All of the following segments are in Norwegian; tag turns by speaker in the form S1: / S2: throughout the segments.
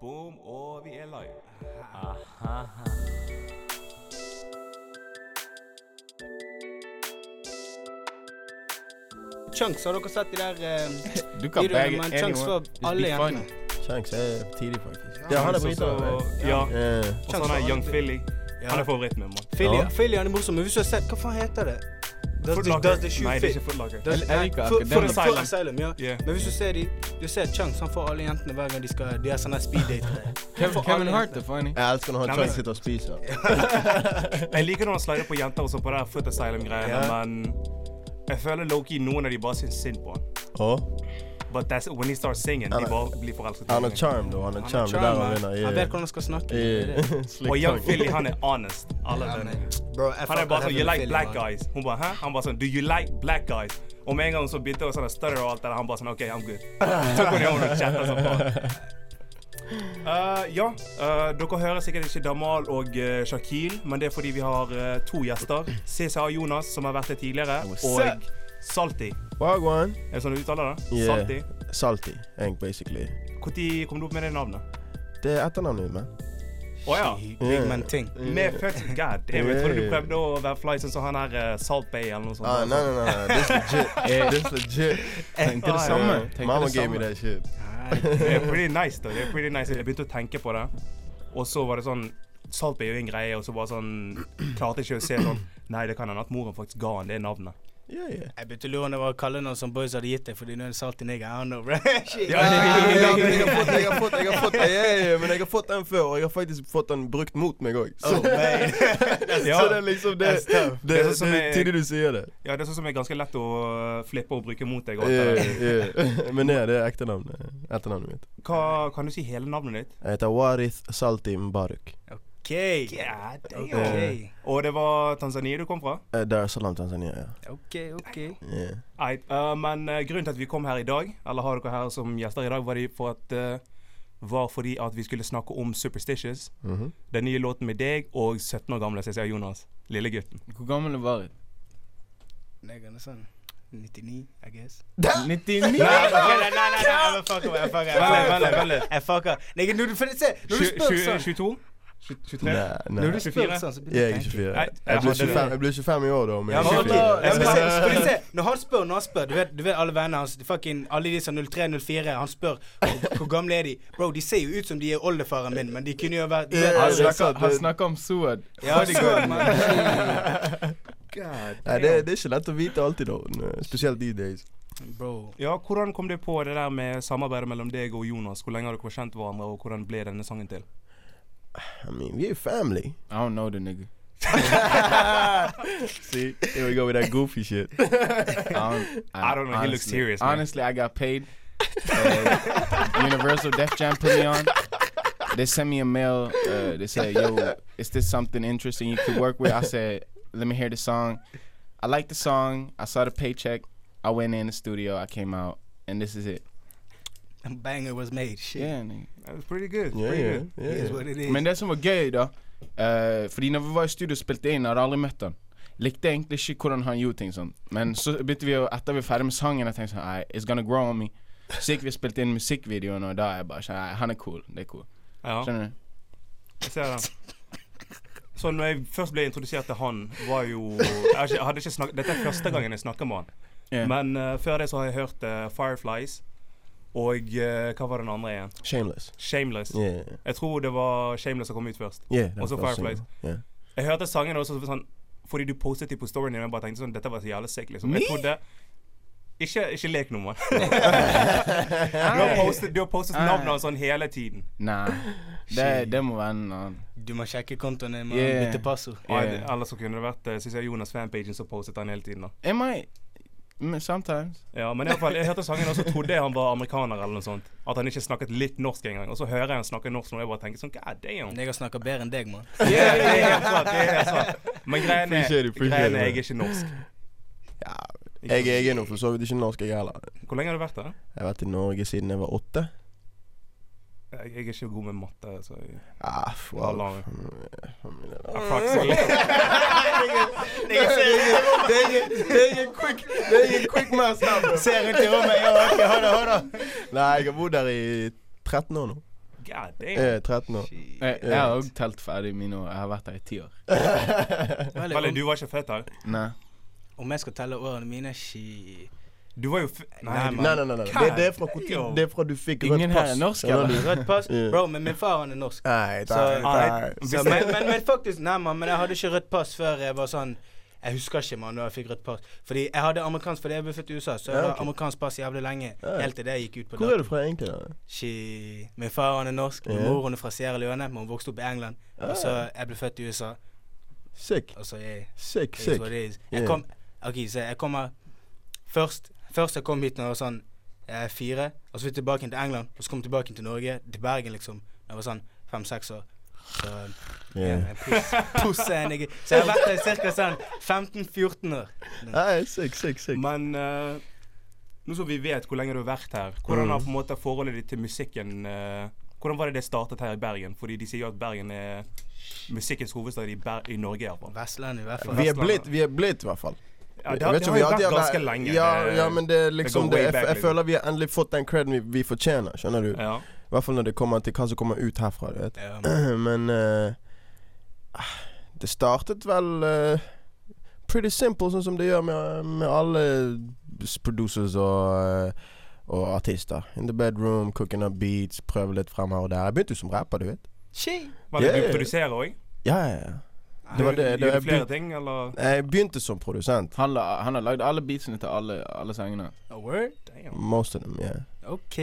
S1: Boom, og vi er live.
S2: Chunks, har dere sett de der eh,
S3: Du kan
S2: videoene
S3: bage
S2: med chunks
S3: anyone.
S2: for alle
S3: big
S2: jentene?
S4: Shanks er tidlig, faktisk. Ja, han er
S1: Og
S4: briter.
S1: så-
S4: vel?
S1: Ja.
S4: Eh,
S1: Og så han er Young Philly. Han er favoritten min. mann.
S2: Philly,
S4: Ja.
S2: Philly han er morsom, men hvis du har sett Hva faen heter det? Does the,
S1: Footlocker.
S2: does the shoe
S1: Nei, det er
S2: fit?
S1: ikke footlocker.
S2: Does-
S3: Jeg- jeg
S2: nei,
S3: liker
S2: for-
S3: akkurat
S2: for-
S3: den.
S2: for
S1: Asylum.
S2: Asylum, ja.
S1: Yeah.
S2: Men hvis du ser de Du ser Chunks, han får alle jentene hver gang de skal De har sånne speed date.
S3: Kevin,
S2: For
S3: Kevin
S2: alle
S3: Hart
S2: jentene.
S3: er funny.
S4: Jeg elsker når han
S1: Nei, men-
S4: Chunks sitter og spiser.
S1: Jeg liker når han slider på jenter og så på det der Foot Asylum-greiene,
S4: Ja.
S1: men jeg føler Loki noen av de bare syns synd på han.
S4: Og
S1: But that's when he starts singing, de
S4: er-
S1: bare blir forelsket. i
S4: han er
S1: henne.
S4: charm, da. Han er charm. Det er sånn, der han vinner.
S2: Han vet hvordan han skal snakke. det er det.
S1: Og Young Philly, han er honest. Alle
S2: Ja,
S1: venner.
S2: men, bro, jeg
S1: Han er
S2: fucker
S1: bare sånn
S2: heavy
S1: You like
S2: med Philly,
S1: black
S2: man.
S1: guys. Hun bare hæ? Han bare sånn Do you like black guys? Og med en gang så begynte hun sånn å stutter og alt det der, han bare sånn OK, I'm good. Så kunne hun og chatta sånn på. Eh, ja, eh, dere hører sikkert ikke Damal og eh, Shakil, men det er fordi vi har eh, to gjester. CCA Jonas, som har vært her tidligere,
S4: up?
S1: og Salti.
S4: Wagwan.
S1: Er det sånn du uttaler det?
S4: Yeah.
S1: Salti.
S4: Salty, egentlig, basically.
S1: Når kom du opp med det navnet?
S4: Det er etternavnet mitt, men.
S1: Å ja.
S2: Big man ting.
S1: Med fucking god. damn, Jeg trodde du prøvde å være fly sånn som han her eh, Salt Bay eller noe sånt.
S4: Ah, nei, nei, nei, nei. This legit. This legit.
S3: Tenkte det
S1: Ah,
S3: samme.
S4: Eh,
S3: Tenkte
S4: Mama
S3: det
S4: gave me
S3: samme.
S4: that shit.
S1: Det er pretty nice, da. Det er pretty nice. Jeg begynte å tenke på det. Og så var det sånn Salt er jo en greie, og så bare sånn Klarte ikke å se sånn Nei, det kan hende at moren faktisk ga han det navnet.
S4: Yeah, yeah.
S2: Jeg begynte å lure på hva kallenavn som boys hadde gitt deg, fordi nå er det salty nigger. I don't know, bro. Shit.
S1: Ja, ja, ja,
S4: Jeg har- jeg har fått- jeg har fått- jeg har fått- ja, ja, ja, Men jeg har fått den før, og jeg har faktisk fått den brukt mot meg òg. Så,
S1: Ja,
S4: så det er liksom det,
S1: That's
S4: det,
S1: tough.
S4: det,
S1: Det er sånn som
S4: er
S1: jeg-
S4: tidlig du sier det.
S1: ja, det er sånn som er ganske lett å øh, flippe og bruke mot deg. Og eh, alt det
S4: Yeah, yeah. Eh, Men ja, det er ekte navn. eh, Etternavnet mitt.
S1: der. Hva, kan du si hele navnet ditt?
S4: Jeg heter Warith Salti Mbaruk.
S2: OK.
S1: God damn.
S2: OK.
S1: Og det var Tanzania du kom fra?
S4: Eh, Dar es Salaam, Tanzania. ja.
S2: OK, OK.
S4: Yeah.
S1: Nei, øh, men øh, grunnen til at vi kom her i dag, eller har dere her som gjester i dag, var, de for at, øh, var fordi at vi skulle snakke om Superstitious.
S4: Mhm.
S1: Den nye låten med deg og 17 år gamle CCA Jonas. Lille gutten.
S3: Hvor gammel er Varit?
S2: Nigger, sånn. 99, I guess.
S3: 99?
S2: Nei, nei, nei, nei, jeg fucker, jeg fucker, jeg
S1: Vent litt,
S2: fucker.
S1: vent litt, vent litt.
S2: Jeg fucker. Nei, når du, for det- se, når du
S1: Tju-
S2: spør
S1: tju-
S2: sånn
S1: 22? Tju- 23?
S4: Nei, nei.
S1: Når du
S2: Når du spør
S1: 24?
S2: sånn, så begynner
S4: Jeg er
S2: jeg å
S4: ikke
S2: tenke.
S4: 24.
S1: Nei, jeg
S4: Jeg blir
S1: hadde det.
S4: 25, jeg blir 25 i år, da. om jeg
S1: Ja,
S4: er
S1: men-
S2: Ok,
S4: 24.
S2: ja, men se,
S1: Jeg-
S2: fordi se, Når han spør, når han spør du vet, du vet alle vennene hans, fucking, alle de som 03-04, han spør hvor- hvor gamle er de? Bro, de ser jo ut som de er oldefaren min, men de kunne jo vært du vet,
S4: Ja,
S3: Han
S4: det
S2: altså,
S4: er
S3: snakker,
S4: sant,
S3: han
S4: det-
S3: snakker om Suad.
S2: Ja, så, man.
S4: Nei, det, det er ikke lett å vite alltid, da. N- Spesielt de days.
S2: Bro.
S1: Ja, hvordan kom det på det der med samarbeidet mellom deg og Jonas? Hvor lenge har dere kjent hverandre, og hvordan ble denne sangen til?
S4: I mean, vi er jo family.
S3: I don't know the nigga.
S4: See, here we go with that goofy shit.
S3: I don't,
S1: I don't know, he looks serious, man.
S3: Honestly, I got paid. Uh, Universal Def Jam put me on. They sent me a mail. Uh, they said, "Yo, is this something interesting you could work with?" I said, "Let me hear the song." I liked the song. I saw the paycheck. I went in the studio. I came out, and this is it.
S2: Banger was made. Shit.
S3: Yeah, nigga.
S1: It's pretty good.
S4: Yeah,
S1: pretty
S4: yeah,
S1: good.
S2: It is
S4: yeah.
S2: what it is.
S3: Men det som var gøy, da eh, Fordi når vi var i studio og spilte inn, hadde jeg aldri møtt han. Likte egentlig ikke hvordan han gjorde ting sånn. Men så begynte vi å etter vi var ferdig med sangen, jeg tenkte sånn Nei, it's gonna grow on me. Så gikk vi og spilte inn musikkvideoen, og da er jeg bare sånn Nei, han er cool. Det er cool.
S1: Ja,
S3: Skjønner du?
S1: jeg ser den. Så når jeg først ble introdusert til han, var jo jeg har ikke, jeg hadde ikke snakket, Dette er første gangen jeg snakker med han.
S3: Yeah.
S1: Men eh, før det så har jeg hørt eh, Fireflies, og eh, hva var den andre igjen?
S4: Shameless.
S1: Shameless.
S4: Yeah.
S1: Jeg tror det var Shameless som kom ut først.
S4: yeah that's
S1: Also
S4: what I'm
S1: Fireflies.
S4: saying. Yeah.
S1: Jeg hørte sangen også sånn fordi du postet dem på storyen din. og Jeg bare tenkte sånn Dette var så jævlig sick, liksom. Jeg
S3: Me?
S1: trodde Ikke, ikke lek nå, mann. Du har postet, du har postet navnet hans sånn hele tiden.
S3: Nei. Det, det må være en annen.
S2: Du må sjekke kontoen din. man.
S3: Yeah.
S2: Bytte passord.
S1: Og
S3: Yeah.
S1: jeg- Ellers så kunne det vært eh, synes jeg Jonas fanpagen som postet han hele tiden. da
S3: Am I mm, Sometimes.
S1: Ja, Men i alle fall, jeg hørte sangen, og så trodde jeg han var amerikaner eller noe sånt. At han ikke snakket litt norsk engang. Og så hører jeg han snakke norsk nå, og jeg bare tenker sånn God damn.
S2: Nigger snakker bedre enn deg, mann.
S1: Yeah, det er helt sant, det er helt sant. Men greien er,
S4: Appreciate it, appreciate
S1: greien er
S4: it.
S1: jeg er ikke norsk.
S4: Ja, jeg, jeg er nå for så vidt ikke norsk, jeg heller.
S1: Hvor lenge har du vært der?
S4: Jeg har vært i Norge siden jeg var åtte.
S1: Jeg jeg er ikke god med matte. så jeg-
S4: Ah,
S1: How
S4: wow.
S1: long?
S4: Det
S1: Approximately.
S4: er ingen quick Det er ingen quick mass her.
S2: Ser rundt i rommet, ja, ok, ha det, ha det.
S4: Nei, jeg har bodd der i 13 år nå.
S1: God damn.
S4: Jeg er 13 år.
S3: Jeg, jeg har òg telt ferdig mine år. Jeg har vært her i ti år.
S2: Vel,
S1: Valle,
S2: om,
S1: du var ikke født her.
S3: Nei.
S2: om jeg skal telle årene mine Shit.
S1: Du var jo f Nei,
S2: Nei,
S1: du-
S4: Nei, nei, nei. nei. Det, det er fra hvor tid?
S1: Damn.
S4: Det er fra du fikk rødt pass.
S3: Ingen her er norsk,
S4: Skjønner
S3: eller?
S4: du?
S2: Rødt pass?
S4: Ja.
S2: Bro, men min far han er norsk.
S4: Nei,
S2: Så-
S4: nei, nei.
S2: Så, men, men, men faktisk, nei man, men jeg hadde ikke rødt pass før jeg var sånn Jeg husker ikke man, når jeg fikk rødt pass. Fordi jeg hadde amerikansk fordi jeg ble født i USA, så jeg
S4: Ja,
S2: hadde
S4: ok.
S2: amerikansk pass jævlig lenge.
S4: Ja.
S2: Helt til det gikk ut på
S4: Hvor er
S2: dato.
S4: du fra egentlig? da?
S2: She- Min far han er norsk, min
S4: Ja.
S2: mor hun er fra Sierra Leone, men hun vokste opp i England. Og så jeg ble født i USA,
S4: Sick,
S2: og så jeg
S4: sick,
S2: It is
S4: sick.
S2: what it is.
S4: Ja.
S2: Jeg kom Ok, så jeg kommer Først Først jeg kom hit når jeg var sånn eh, fire, og så flyttet jeg tilbake igjen til England, og så kom jeg tilbake igjen til Norge, til Bergen, liksom, da jeg var sånn fem-seks år. Så eh,
S4: Ja.
S2: yeah. pusse en jeg Så jeg har vært der i ca. sånn 15-14 år.
S4: Nei, sick, sick, sick.
S1: Men eh, nå som vi vet hvor lenge du har vært her, hvordan
S4: Mm.
S1: har på en måte forholdet ditt til musikken eh, Hvordan var det det startet her i Bergen? Fordi de sier jo at Bergen er musikkens hovedstad i, Ber i Norge. i hvert fall.
S2: Vestlandet, i hvert fall.
S4: Vi er blitt, vi er blitt i hvert fall.
S1: Ja, det,
S4: Jeg
S1: har-
S4: vet
S1: det
S4: ikke om
S1: har
S4: vi
S1: jo
S4: alltid
S1: vært
S4: har-
S1: ganske lenge. eh,
S4: Ja,
S1: det-
S4: ja men det er liksom
S1: går
S4: det,
S1: way
S4: jeg,
S1: back,
S4: jeg
S1: liksom.
S4: føler vi har endelig fått den creden vi, vi fortjener, skjønner du?
S1: ja.
S4: I hvert fall når det kommer til hva som kommer ut herfra, du vet.
S2: Ja,
S4: Men eh, ah, det startet vel eh, pretty simple, sånn som det gjør med, med alle s- producers og, eh, og artister. In the bedroom, cooking up beats, prøve litt frem her og der. Jeg begynte jo som rapper, du vet.
S2: Shit.
S1: Var det
S4: Yeah.
S1: du produserer òg?
S4: Ja, ja, ja. Det var det- det-
S1: Gjorde
S4: jeg
S1: du flere
S4: begyn-
S1: ting, eller?
S4: Jeg begynte som produsent.
S3: Han, la, han har lagd alle beatsene til alle, alle sangene.
S2: A word?
S1: Damn.
S4: Most of them, yeah.
S2: OK.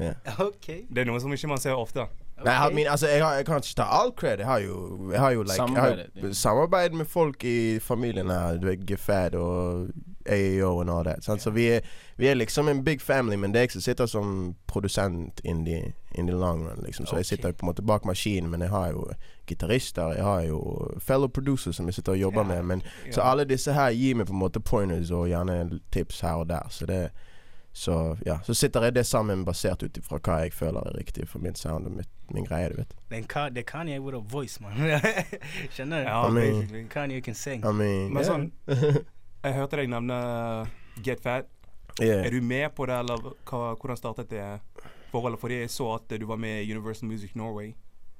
S4: yeah.
S2: OK.
S1: Det er noe som ikke man ser ofte.
S4: Nei, jeg, har,
S2: ok.
S4: min, altså, jeg, har, jeg kan ikke ta all cred. Jeg har jo, jeg har jo like,
S3: Samarbeidet,
S4: jeg har,
S3: ja.
S4: jo samarbeid med folk i familien her. Du vet, Gefad og AAO og all that. sant? Så vi er, vi er liksom en big family, men det er jeg som sitter som produsent in the, in the long run. liksom. Så
S2: Ok.
S4: jeg sitter på en måte bak maskinen, men jeg har jo gitarister, jeg har jo fellow producers som jeg sitter og jobber
S1: Ja.
S4: med. men
S1: Ja.
S4: Så alle disse her gir meg på en måte pointers og gjerne tips her og der. Så det så ja, så sitter jeg det sammen basert ut ifra hva jeg føler er riktig for min sound og mitt, min greie, du vet.
S2: Then Ka- Det er Kanye with a voice, man. Skjønner du?
S1: Ja,
S4: I mean-
S1: basically.
S2: Kanye can sing.
S4: I mean,
S1: Men
S4: yeah.
S1: sånn, jeg hørte deg nevne eh, Get Fat.
S4: yeah.
S1: Er du med på det, eller hva, hvordan startet det forholdet? Fordi jeg så at du var med i Universal Music Norway.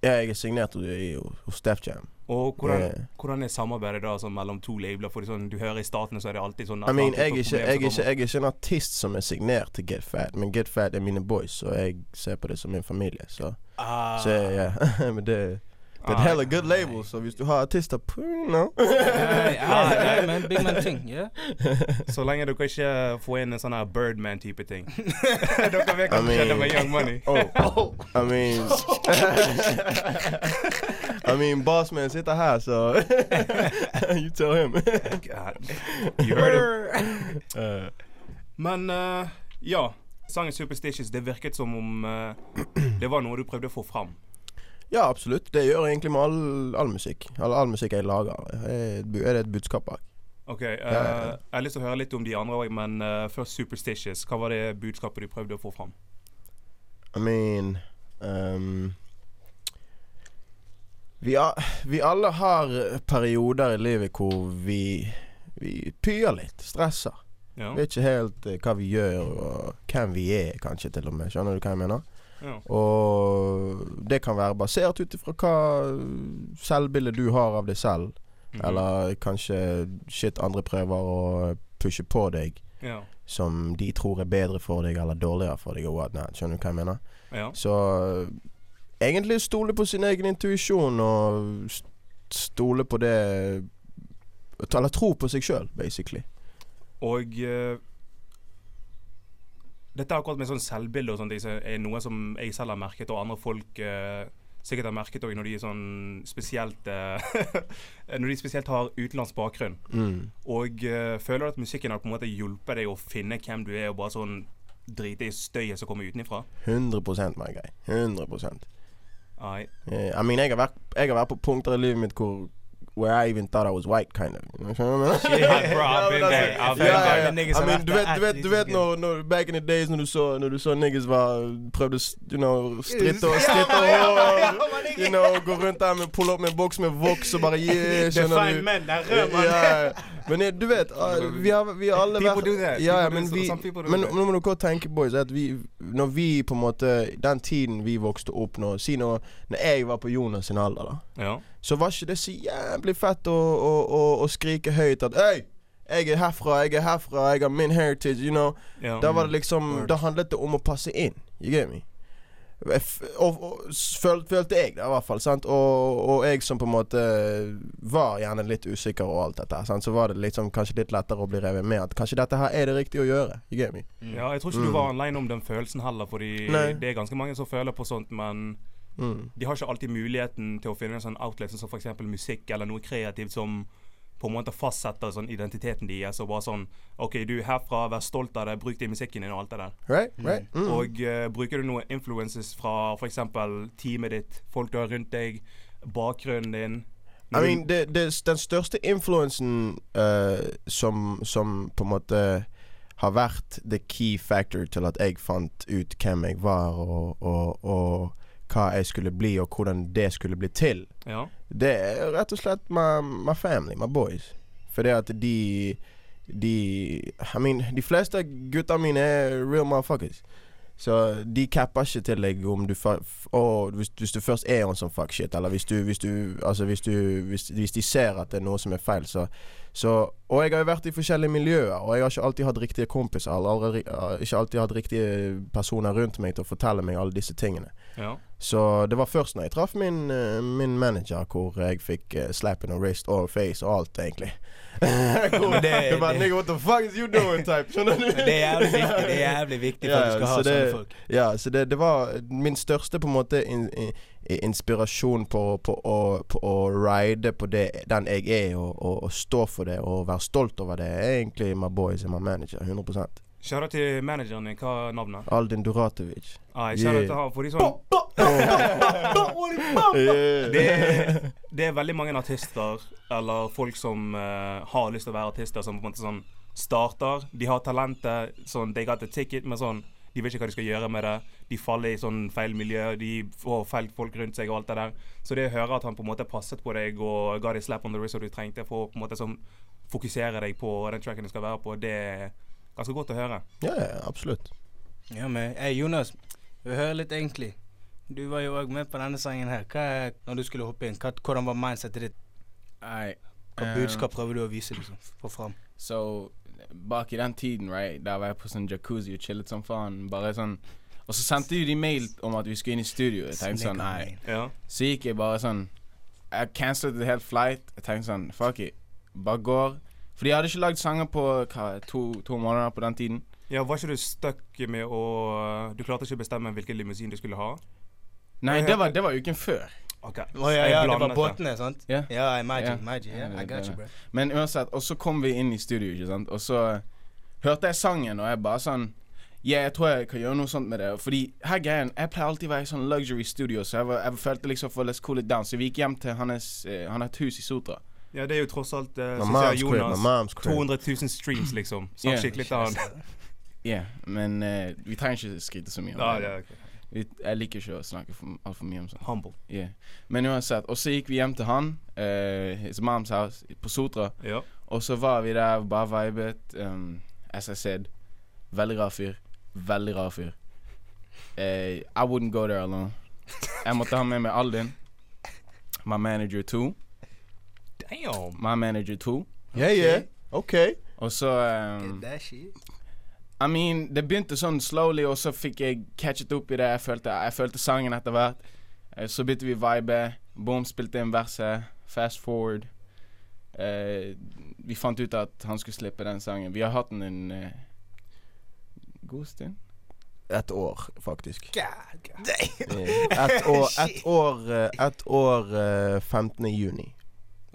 S4: ja, jeg er signert i- i- hos Def Jam.
S1: Og hvordan,
S4: Yeah.
S1: hvordan er samarbeidet da sånn, mellom to labler? Fordi sånn, du hører i staten så er det alltid sånn
S4: I mean,
S1: Atlantic
S4: jeg er,
S1: og
S4: ikke, jeg,
S1: problemer
S4: er ikke,
S1: som
S4: jeg er ikke en artist som er signert til Get Fat, men Get Fat er mine boys, og jeg ser på det som min familie. Så,
S2: Ah.
S4: så ja. men det, det er et
S1: Ah.
S4: heller good label, så hvis du har artister på you know.
S2: Nei, nei, nei, men Big Man Ting. ja.
S1: kommer. Så lenge dere ikke får inn en sånn her Birdman-type ting. dere vet hva
S4: I
S1: som skjedde
S4: mean-
S1: med Young Money.
S4: Oh. I mean I mean boss man sitter her, så you tell him.
S1: God. You heard it. Eh. Men eh, ja, sangen 'Superstitious' det virket som om eh, det var noe du prøvde å få fram.
S4: ja, absolutt. Det gjør jeg egentlig med all, all musikk. All, all musikk jeg lager. Er et bu- er det et budskap bak?
S1: Ok, eh,
S4: ja, ja.
S1: Jeg har lyst til å høre litt om de andre òg, men eh, først 'Superstitious'. Hva var det budskapet du prøvde å få fram?
S4: I mean um, vi, a, vi alle har perioder i livet hvor vi, vi pyer litt, stresser.
S1: Ja.
S4: Vet ikke helt eh, hva vi gjør og hvem vi er, kanskje til og med. Skjønner du hva jeg mener?
S1: ja.
S4: Og det kan være basert ut ifra hva selvbildet du har av deg selv.
S1: Mhm.
S4: Eller kanskje shit andre prøver å pushe på deg
S1: ja.
S4: som de tror er bedre for deg eller dårligere for deg. Og whatnot. Skjønner du hva jeg mener?
S1: ja.
S4: Så egentlig stole på sin egen intuisjon og st- stole på det Eller tro på seg sjøl, basically.
S1: Og eh, dette akkurat med sånn selvbilde og sånne ting så er noe som jeg selv har merket, og andre folk eh, sikkert har merket òg når de er sånn spesielt eh, Når de spesielt har utenlandsk bakgrunn.
S4: Mm.
S1: Og eh, føler du at musikken har på en måte hjulpet deg å finne hvem du er, og bare sånn drite i støyet som kommer utenfra?
S4: 100 my guy. 100
S1: Nei.
S4: Eh, I mean, jeg, har vært, jeg har vært på punkter i livet mitt hvor where I even thought I was white, kind of. You know what I'm saying?
S1: Yeah, bro, I've been there. I've been
S4: Ja,
S1: there.
S4: ja.
S2: The niggas
S4: I
S2: have
S4: mean,
S2: to
S4: du vet,
S2: act
S4: du vet, du vet
S2: litt
S4: når, når back in the days når du så, når du så niggas var, prøvde å s- you know, stritte og
S2: Ja,
S4: stritte
S2: ja, ja, ja,
S4: hår.
S2: my nigga.
S4: You know, gå rundt der med pull opp med en boks med voks og bare yeah,
S2: Det er
S4: skjønner
S2: fine
S4: du.
S2: menn. Det er rød mann.
S4: Ja, ja. men eh, du vet, ah, vi har, vi har alle
S1: People do that.
S4: Ja,
S1: People
S4: ja,
S1: do
S4: men
S1: so-
S4: vi,
S1: some people do
S4: men
S1: that.
S4: nå må dere tenke, boys, at vi, når vi på en måte Den tiden vi vokste opp nå, si nå når jeg var på Jonas sin alder, da
S1: Ja.
S4: så var ikke det så jævlig fett å, å, å, å skrike høyt at Øy, jeg er herfra, jeg er herfra, jeg har min heritage, you know.
S1: ja.
S4: Da var det liksom
S1: Word.
S4: Da handlet det om å passe inn. You get me? Jeg f- Og, og s- føl, følte jeg det, i hvert fall. Sant? Og, og jeg som på en måte eh, var gjerne litt usikker og alt dette, her, sant? så var det liksom kanskje litt lettere å bli revet med. At kanskje dette her er det riktige å gjøre. You get me?
S1: ja, jeg tror ikke du var alene om den følelsen heller, fordi
S4: Mm. Nei.
S1: det er ganske mange som føler på sånt, men
S4: Mm.
S1: de har ikke alltid muligheten til å finne en sånn outlet som f.eks. musikk eller noe kreativt som på en måte fastsetter sånn identiteten deres og bare sånn OK, du er herfra, vær stolt av det, bruk det i musikken din og alt det der.
S4: Right? Right? Mm.
S1: Og eh, bruker du noen influences fra f.eks. teamet ditt, folk du har rundt deg, bakgrunnen din
S4: I mean, det, det, den største influensen eh, som, som på en måte har vært the key factor til at jeg fant ut hvem jeg var, og, og, og hva jeg skulle bli, og hvordan det skulle bli til,
S1: Ja.
S4: det er rett og slett my, my family, my boys. Fordi at de De I mean, de fleste gutta mine er real motherfuckers. Så de capper ikke til deg om du fa f- å, hvis, hvis du først er en sånn fuck shit, eller hvis du Hvis, du, altså hvis, du, hvis, hvis de ser at det er noe som er feil, så, så Og jeg har jo vært i forskjellige miljøer, og jeg har ikke alltid hatt riktige kompiser, eller aldri, ikke alltid hatt riktige personer rundt meg til å fortelle meg alle disse tingene.
S1: ja.
S4: Så det var først når jeg traff min, eh, min manager, hvor jeg fikk eh, slap in the wrist og face og alt, egentlig. Hvor
S2: det-
S4: det var
S2: det-
S4: nigga, what the fuck is you doing? type, skjønner du?
S2: Det er jævlig viktig. Det er jævlig viktig for at
S4: Ja,
S2: du skal
S4: ja,
S2: ha
S4: så det-
S2: sånne folk.
S4: Ja, så det, det var min største på en måte in, in, eh, inspirasjon på, på, å, på å ride på det, den jeg er, og, og, og stå for det og være stolt over det, er egentlig my boys and my manager. 100
S1: Kjære til manageren din, hva er navnet?
S4: Aldin Duratovic.
S1: Ah, jeg kjenner
S4: Yeah.
S1: til han, fordi sånn det, det er veldig mange artister, eller folk som eh, har lyst til å være artister, som på en måte sånn starter. De har talentet, sånn they got the ticket, men sånn de vet ikke hva de skal gjøre med det. De faller i sånn feil miljø, de får feil folk rundt seg og alt det der. Så det å høre at han på en måte passet på deg og ga deg slap on the wrist som du trengte for å på en måte sånn fokusere deg på den tracken du skal være på, det er ganske godt å høre.
S4: Ja, ja, absolutt.
S2: Ja, men hey, Jonas, vi hører litt egentlig. Du var jo òg med på denne sangen her. Hva er, når du skulle hoppe inn, hva, hvordan var mindsetet ditt?
S3: Alright.
S2: Hva
S4: Eh.
S3: um,
S2: budskap prøver du å vise liksom, få fram?
S3: So, bak i den tiden, right, der var jeg på sånn jacuzzi og chillet som faen. Bare sånn Og så sendte jo de mail om at vi skulle inn i studio. Jeg tenkte sånn, nei.
S1: Ja.
S3: Så gikk jeg bare sånn Jeg cancelet et helt flight. Jeg tenkte sånn, fuck it. Bare går. Fordi jeg hadde ikke lagd sanger på hva, to, to måneder på den tiden.
S1: ja, var ikke du stuck med å Du klarte ikke å bestemme hvilken limousin du skulle ha?
S3: Nei,
S1: Ja, ja.
S3: det var, det var uken før.
S1: Ok.
S2: Å ja,
S1: Jeg
S2: ja, det
S1: blandet
S2: var båtene, sant?
S3: Ja.
S2: Ja, imagine,
S3: Ja.
S2: imagine.
S3: Ja,
S2: Yeah, I
S3: det-
S2: got you,
S3: det-
S2: bro.
S3: Men uansett, og så kom vi inn i studio, ikke sant. Og så hørte jeg sangen, og jeg bare sånn Ja, jeg tror jeg kan gjøre noe sånt med det. Fordi her greien, jeg pleier alltid å være i sånn luxury studio, så jeg, var, jeg følte liksom for let's cool it down. Så vi gikk hjem til hans eh, Han har et hus i Sotra.
S1: Ja, det er jo tross alt eh,
S4: My
S1: som sier
S4: mom's crib, my
S1: Jonas.
S4: mom's crib.
S1: 200 000 streams, liksom. Snakk
S3: Yeah.
S1: skikkelig til han.
S3: Ja, men eh, vi trenger ikke skryte så mye om
S1: Ja,
S3: det.
S1: ja, ok.
S3: Vi, jeg liker ikke å snakke altfor mye om sånt.
S1: Humble.
S3: Ja. Men uansett, og så gikk vi hjem til han, eh, his mom's house, på Sotra.
S1: Ja.
S3: Og så var vi der, bare vibet. Um, as I said, veldig rar fyr. Veldig rar fyr. Eh, I wouldn't go there alone. Jeg måtte ha med meg Aldin. My manager too.
S1: Damn!
S3: My manager too.
S4: Yeah, yeah. OK.
S3: Og så
S4: Mm.
S3: um,
S2: Get that shit.
S3: I mean, det begynte sånn slowly, og så fikk jeg catchet opp i det. Jeg følte, jeg følte sangen etter hvert. Eh, Så begynte vi vibe. Boom spilte inn verset. Fast forward. Eh, vi fant ut at han skulle slippe den sangen. Vi har hatt den en eh, god stund.
S4: Et år, faktisk.
S2: God, God.
S4: Ett år, ett år, eh, ett år eh, 15. juni.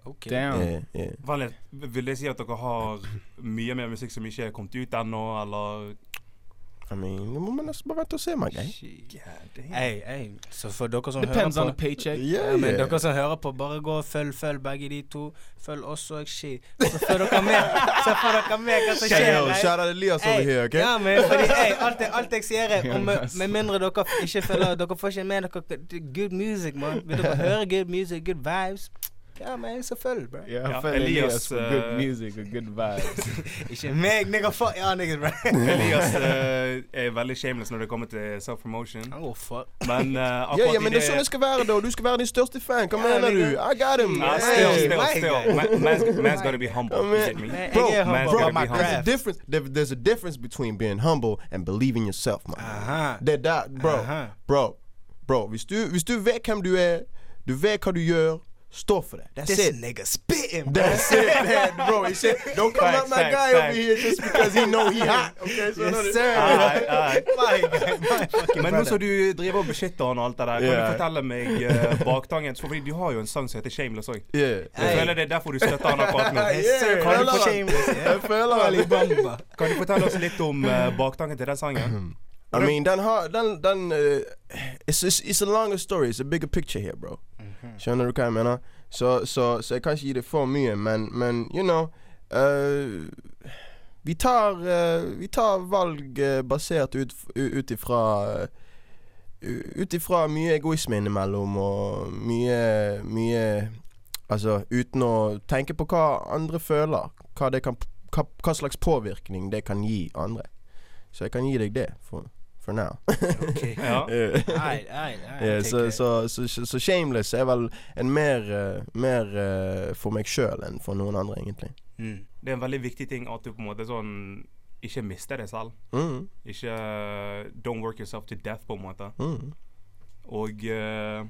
S2: Ok.
S3: Damn.
S4: Eh, eh.
S1: Vanlig, vil det si at dere har mye mer musikk som ikke er kommet ut ennå, eller
S4: I mean, nå må man nesten bare vente og se, my guy.
S1: God damn.
S2: Ei, ei. Så for dere som
S3: Depends on
S2: hører
S3: the
S2: på
S3: paycheck.
S4: Yeah,
S2: ja, men
S4: yeah.
S2: Dere som hører på, bare gå og følg, følg begge de to. Følg oss og Xi. Så får dere med Så får dere med hva som
S4: Shout
S2: skjer.
S4: out-
S2: ei.
S4: Shout out Elias
S2: Ei,
S4: over here, ok?
S2: Ja, men fordi, ei, alt, jeg- alt jeg sier er og med, med mindre dere ikke følger Dere får ikke med dere det er Good music, man. Vil dere høre good music, good vibes? Ja, men så følg, bro.
S3: Yeah,
S1: Yeah,
S3: I felt
S1: Elias,
S3: Elias, eh, with good
S1: uh,
S3: music, with good vibes.
S2: Ikke meg, nigga. Fuck ja, nigga, bro.
S1: Elias eh, er veldig shameless når det kommer til self-promotion.
S2: Oh, fuck.
S1: Men eh, akkurat
S4: Ja, ja, men
S1: i
S4: det er sånn det skal være, da. Du skal være din største fan. Hva
S2: Ja,
S4: mener du?
S2: nigga.
S4: I got him.
S1: Nah,
S2: Hey,
S1: still,
S4: Hey.
S1: still,
S2: my
S1: still.
S2: guy.
S1: Ma- Man's, man's gotta be humble.
S4: Man,
S1: you get me?
S2: Man,
S4: Bro,
S2: jeg er
S1: man's gotta
S2: humble.
S4: Bro,
S1: be
S2: my
S1: humble.
S4: there's a
S2: craft.
S4: difference. There, there's a difference between being humble and believing yourself, man.
S1: Uh-huh.
S2: Aha.
S4: Det er der, bro.
S2: Aha.
S4: Bro, bro. Hvis du, hvis du vet hvem du er, du vet hva du gjør, stå for det. That's
S2: This
S4: it.
S2: nigga spitting, bro.
S4: That's it, man. Bro, it's it. Don't come
S1: Facts,
S4: at my
S1: facts,
S4: guy over
S1: facts.
S4: here just because he know he hot. Okay, so
S2: Yes,
S1: All
S2: sir.
S1: right, all right.
S2: My guy, my fucking
S1: Men nå
S2: brother.
S1: som du driver og beskytter han og alt det der, kan
S4: Ja.
S1: du fortelle meg eh, baktangen? Så Fordi du har jo en sang som heter 'Shameless' òg.
S4: Yeah.
S1: Jeg
S2: Hey.
S1: føler det er derfor du støtter han akkurat nå.
S2: Yes, sir.
S4: Yeah,
S2: Kan du
S4: føler
S2: få
S4: han.
S2: shameless, ja?
S4: Jeg føler han.
S2: Ali Bamba.
S1: Kan du fortelle oss litt om eh, baktanken til den sangen?
S4: I mean, den har den, den eh, it's, it's, it's a longer story. It's a bigger picture here, bro. Skjønner du hva jeg mener? Så, så, så jeg kan ikke gi det for mye, men, men you know eh, vi, tar, eh, vi tar valg eh, basert ut, u- ut ifra eh, u- Ut ifra mye egoisme innimellom og mye, mye Altså uten å tenke på hva andre føler. Hva, det kan, hva, hva slags påvirkning det kan gi andre. Så jeg kan gi deg det, for, for now.
S1: Ja.
S4: Eh,
S2: Nei, nei, nei.
S4: eh,
S2: take
S4: så,
S2: it.
S4: så, så, så, så shameless er vel en mer, eh, mer eh, for meg sjøl enn for noen andre, egentlig.
S2: Mm.
S1: Det er en veldig viktig ting at du på en måte sånn ikke mister deg selv.
S4: Mm,
S1: Ikke eh, don't work yourself to death, på en måte.
S4: mm.
S1: Og eh,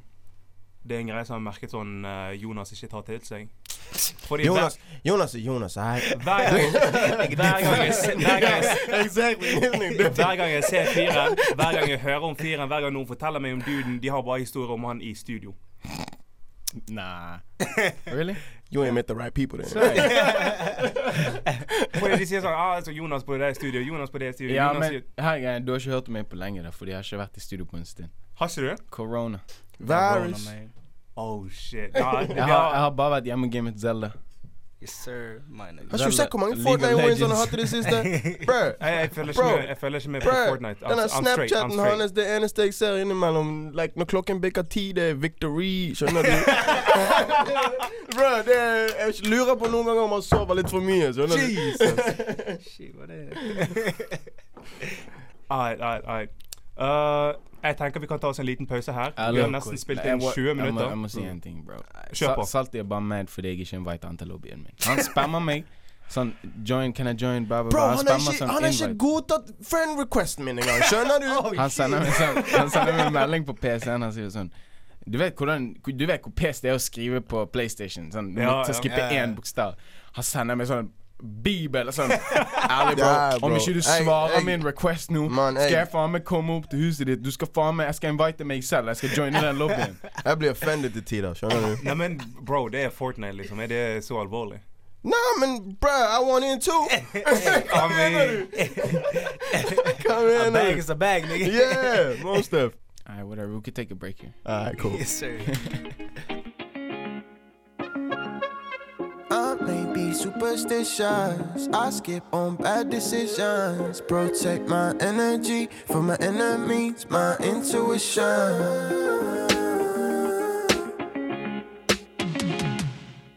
S1: det er en greie som jeg har merket sånn eh, Jonas ikke tar til seg. Fordi hver-
S4: Jonas, Jonas er Jonas. Hei.
S1: Hver gang, hver gang, jeg, se- hver, gang jeg, hver gang jeg ser fyren, hver gang jeg hører om fyren, hver gang noen forteller meg om duden, de har bare historier om han i studio.
S3: nah. really?
S4: You ain't met the right people then.
S3: Sorry.
S1: Fordi de sier sånn ah, altså Jonas på det studio, Jonas på det studio
S3: ja,
S1: Jonas
S3: men
S1: sier-
S3: her, greien, du har ikke hørt meg på lenge, da, fordi jeg har ikke vært i studio på en stund.
S1: Har ikke du det?
S3: Corona.
S4: Virus.
S2: Corona, man.
S1: Oh shit. Ja,
S3: Jeg
S1: ja,
S3: har, jeg har bare vært hjemme og gamet Zelda.
S2: Yes, sir. My nigga.
S4: Har ikke du sett hvor mange
S3: League of
S4: Fortnite wins han har
S3: Legends.
S4: hatt i det siste? Bruh.
S1: jeg, jeg, følger ikke
S4: Bro.
S1: med, jeg følger ikke med på
S4: Bruh,
S1: Fortnite. Altså, I'm,
S4: denne
S1: I'm straight. I'm
S4: Snapchaten
S1: straight.
S4: hans, det eneste jeg ser innimellom like, Når klokken bikker ti, det er victory. Skjønner du? Bruh, det er, jeg lurer på noen ganger om han sover litt for eh, mye. Skjønner du?
S2: Shit, hva det er?
S1: Alright, alright, alright. Uh, jeg tenker vi kan ta oss en liten pause her.
S3: Jeg
S1: Vi har
S3: lover.
S1: nesten spilt
S3: Jeg
S1: inn
S3: må-
S1: 20
S3: Jeg må, jeg
S1: minutter.
S3: må si
S4: Mm.
S3: en ting, bro.
S1: Kjør på.
S3: Sa- Salty er bare mad fordi jeg ikke inviter han til lobbyen min. Han spammer meg. Sånn join, Can I join? Bla,
S4: Bro,
S3: bla, bla. Han
S4: han har
S3: spammer
S4: ikke,
S3: sånn
S4: han har ikke
S3: invite.
S4: godtatt friend requesten min engang. Skjønner du?
S3: Han sender meg sånn Han sender meg en melding på PC-en Han sier sånn du vet, hvordan, du vet hvor pes det er å skrive på PlayStation? Sånn, du
S1: Ja,
S3: må
S1: ja.
S3: skippe
S2: Ja, ja.
S3: én bokstav. Han sender meg sånn Bibel og sånn. Ærlig, bro.
S4: Ja, bro.
S3: Om ikke du
S4: Jeg-
S3: svarer
S4: jeg-
S3: min request nå,
S4: Man, jeg-
S3: skal jeg faen meg komme opp til huset ditt. Du skal faen meg Jeg skal invite meg selv. Jeg skal joine den lobbyen.
S4: Jeg blir offended til tider. Skjønner du?
S1: Nei, men bro, det er Fortnite, liksom. Er det så alvorlig?
S4: Nei, men bruh, I want in too.
S1: I mean,
S4: Hva
S2: A
S4: mener
S2: bag
S4: du?
S2: is a bag, nigga.
S4: eh. Yeah, more stuff.
S3: Alright, whatever. We can take a break here.
S4: Alright, cool.
S2: Yes, sir.
S5: I may be superstitious. I skip on bad decisions. Protect my energy from my enemies, my intuition.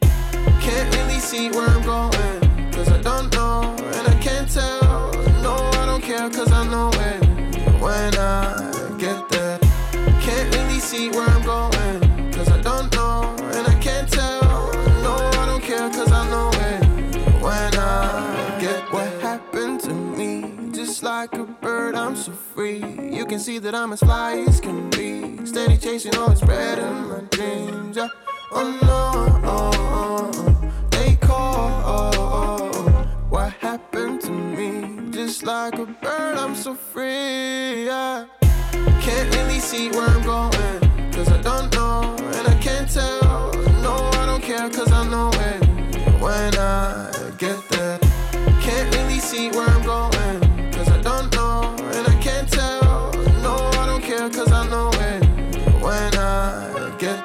S5: Can't really see where I'm going, cause I don't know, and I can't tell. No, I don't care, cause I know it when I get there. Can't really see where I'm going, cause I don't know, and I can't tell. No, I don't care, cause I know it when I get what happened to me. Just like a bird, I'm so free. You can see that I'm as fly as can be. Steady chasing all its bread and my dreams. Yeah. Oh no, oh, oh, oh. they call. Oh, oh, oh. What happened to me? Just like a bird, I'm so free. Yeah. Can't really see where I'm going, cause I don't know, and I can't tell. No, I don't care, cause I know it when I get there. Can't really see where I'm going, cause I don't know, and I get there.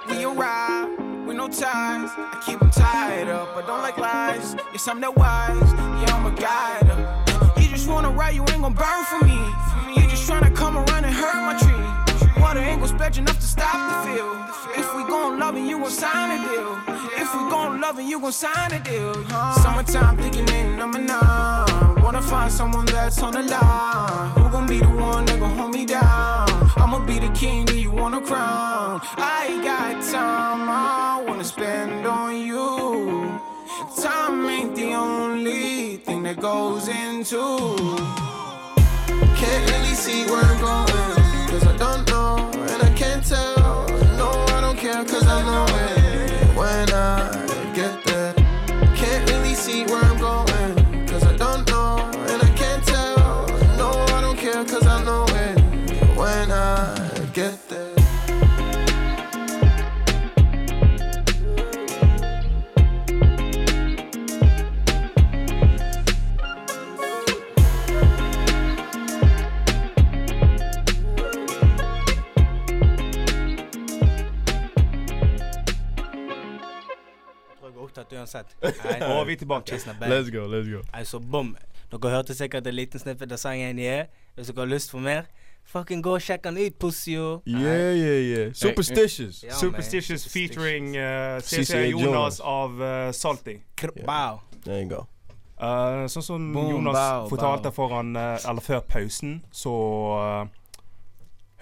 S6: We arrive with no ties. I keep them tied up. I don't like lies. Yes, I'm that wise. Yeah, I'm a guide. You just wanna ride, you ain't gon' burn for me. You just tryna come around and hurt my tree. Water ain't gon' spread enough to stop the feel. If we gon' love and you gon' sign a deal. If we gon' love and you gon' sign a deal. Summertime thinking ain't number nine. Wanna find someone that's on the line. Who gon' be the one that gon' hold me down? I'ma be the king, do you want a crown? I ain't got time, I wanna spend on you. Time ain't the only thing that goes into.
S5: Can't really see where I'm going. Cause I don't know, and I can't tell. No, I don't care, cause I know it. When I get there, can't really see where I'm going. Cause I don't know, and I can't tell. No, I don't care, cause I know it. When I get there.
S2: Jeg tror jeg er opptatt uansett.
S1: Og vi er tilbake.
S2: Let's
S3: go, let's go.
S2: Jeg så bom. Dere hørte sikkert en liten snippet av sangen Yeah. Hvis dere har lyst for mer, fucking gå og sjekk den ut, pussio.
S4: Yeah, yeah, yeah. Superstitious.
S2: Ja, man.
S1: Superstitious featuring uh, CC
S4: CCA
S1: Jonas
S4: Jonas.
S1: av uh, Salty.
S2: Kr- Wow.
S4: There you go.
S1: Eh, sånn som
S3: Boom,
S1: Jonas
S3: bow,
S1: fortalte
S3: bow.
S1: foran eh, Eller før pausen, så eh,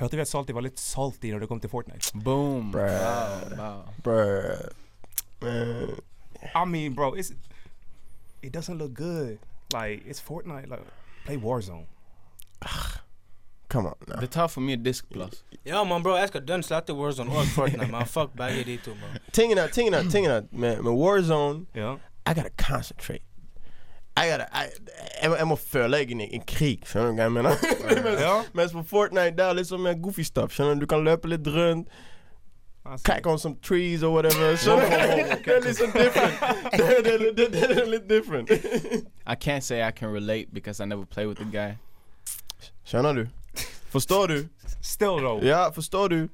S1: hørte vi at Salty var litt salty når det kom til Fortnite.
S3: Boom.
S4: Bruh.
S3: Wow, wow.
S4: Bruh. Man.
S1: I mean, bro, it's it doesn't look good. Like it's Fortnite. Like play Warzone.
S4: Come on now.
S3: Det tar for mye disk plass.
S2: Ja, man, bro. Jeg skal dønn slette words on all Fortnite, man. Fuck begge de to, man.
S4: Tingen er, tingen er, tingen er med, med Warzone
S1: Ja.
S4: I gotta concentrate. I gotta, I, jeg, må- jeg må føle jeg er i en krig, skjønner du hva jeg mener? mens,
S1: Ja.
S4: mens på Fortnite der er litt sånn mer goofy stuff, skjønner du? Du kan løpe litt rundt,
S1: Altså,
S4: crack on some trees or whatever, skjønner du? Det er litt sånn different. Det er- det er- det er- det er litt different.
S3: I can't say I can relate because I never play with the guy.
S4: Skjønner du? Forstår du?
S1: Still though.
S4: Ja, forstår du?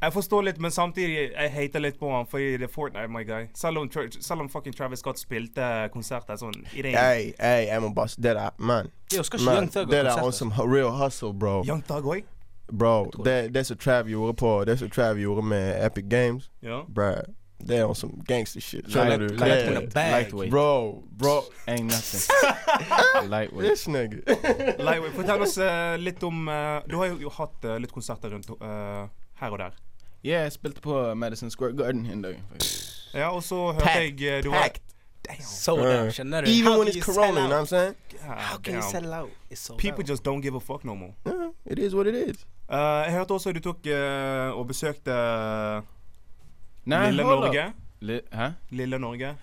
S1: Jeg forstår litt, men samtidig jeg hater litt på han fordi det er Fortnite, my guy. Selv om, Tra- selv om fucking Travis Scott spilte konserter sånn i det
S4: Hey, hey, jeg må bare s- Det der, man.
S2: Yo, skal ikke
S4: man
S2: Young
S4: det
S2: Thug ha
S4: der on
S2: konsert?
S4: some hu- real hustle, bro.
S1: Young Thug òg.
S4: Bro, det, det som Trav gjorde på Det som Trav gjorde med Epic Games,
S1: Ja.
S4: bro, det er on some gangster shit. Skjønner
S3: Light-
S4: du?
S2: Light-
S4: Det-
S2: in a bag.
S3: Lightweight.
S4: Bro, bro,
S3: Ain't nothing. Lightweight.
S4: this nigga.
S1: Lightweight, fortell oss eh, litt om eh, Du har jo hatt eh, litt konserter rundt eh, her og der.
S3: Yeah, jeg spilte på uh, Madison Square Garden en dag.
S1: Ja, og så hørte jeg eh, du var
S2: So damn, skjønner du?
S4: Uh, Even
S2: How
S4: when
S2: can you
S4: it's
S2: sell
S4: corona, you know
S2: out?
S4: what I'm saying?
S2: How
S1: God
S2: can you
S1: damn.
S2: sell out? It's so
S1: People
S2: loud.
S1: just don't give a fuck no more.
S4: Yeah, it is what it is.
S1: Eh, jeg hørte også du tok eh, og besøkte
S3: Nei,
S1: Lille
S3: hold up.
S1: Norge.
S3: Li- Hæ?
S1: Lille Norge.
S3: Yeah,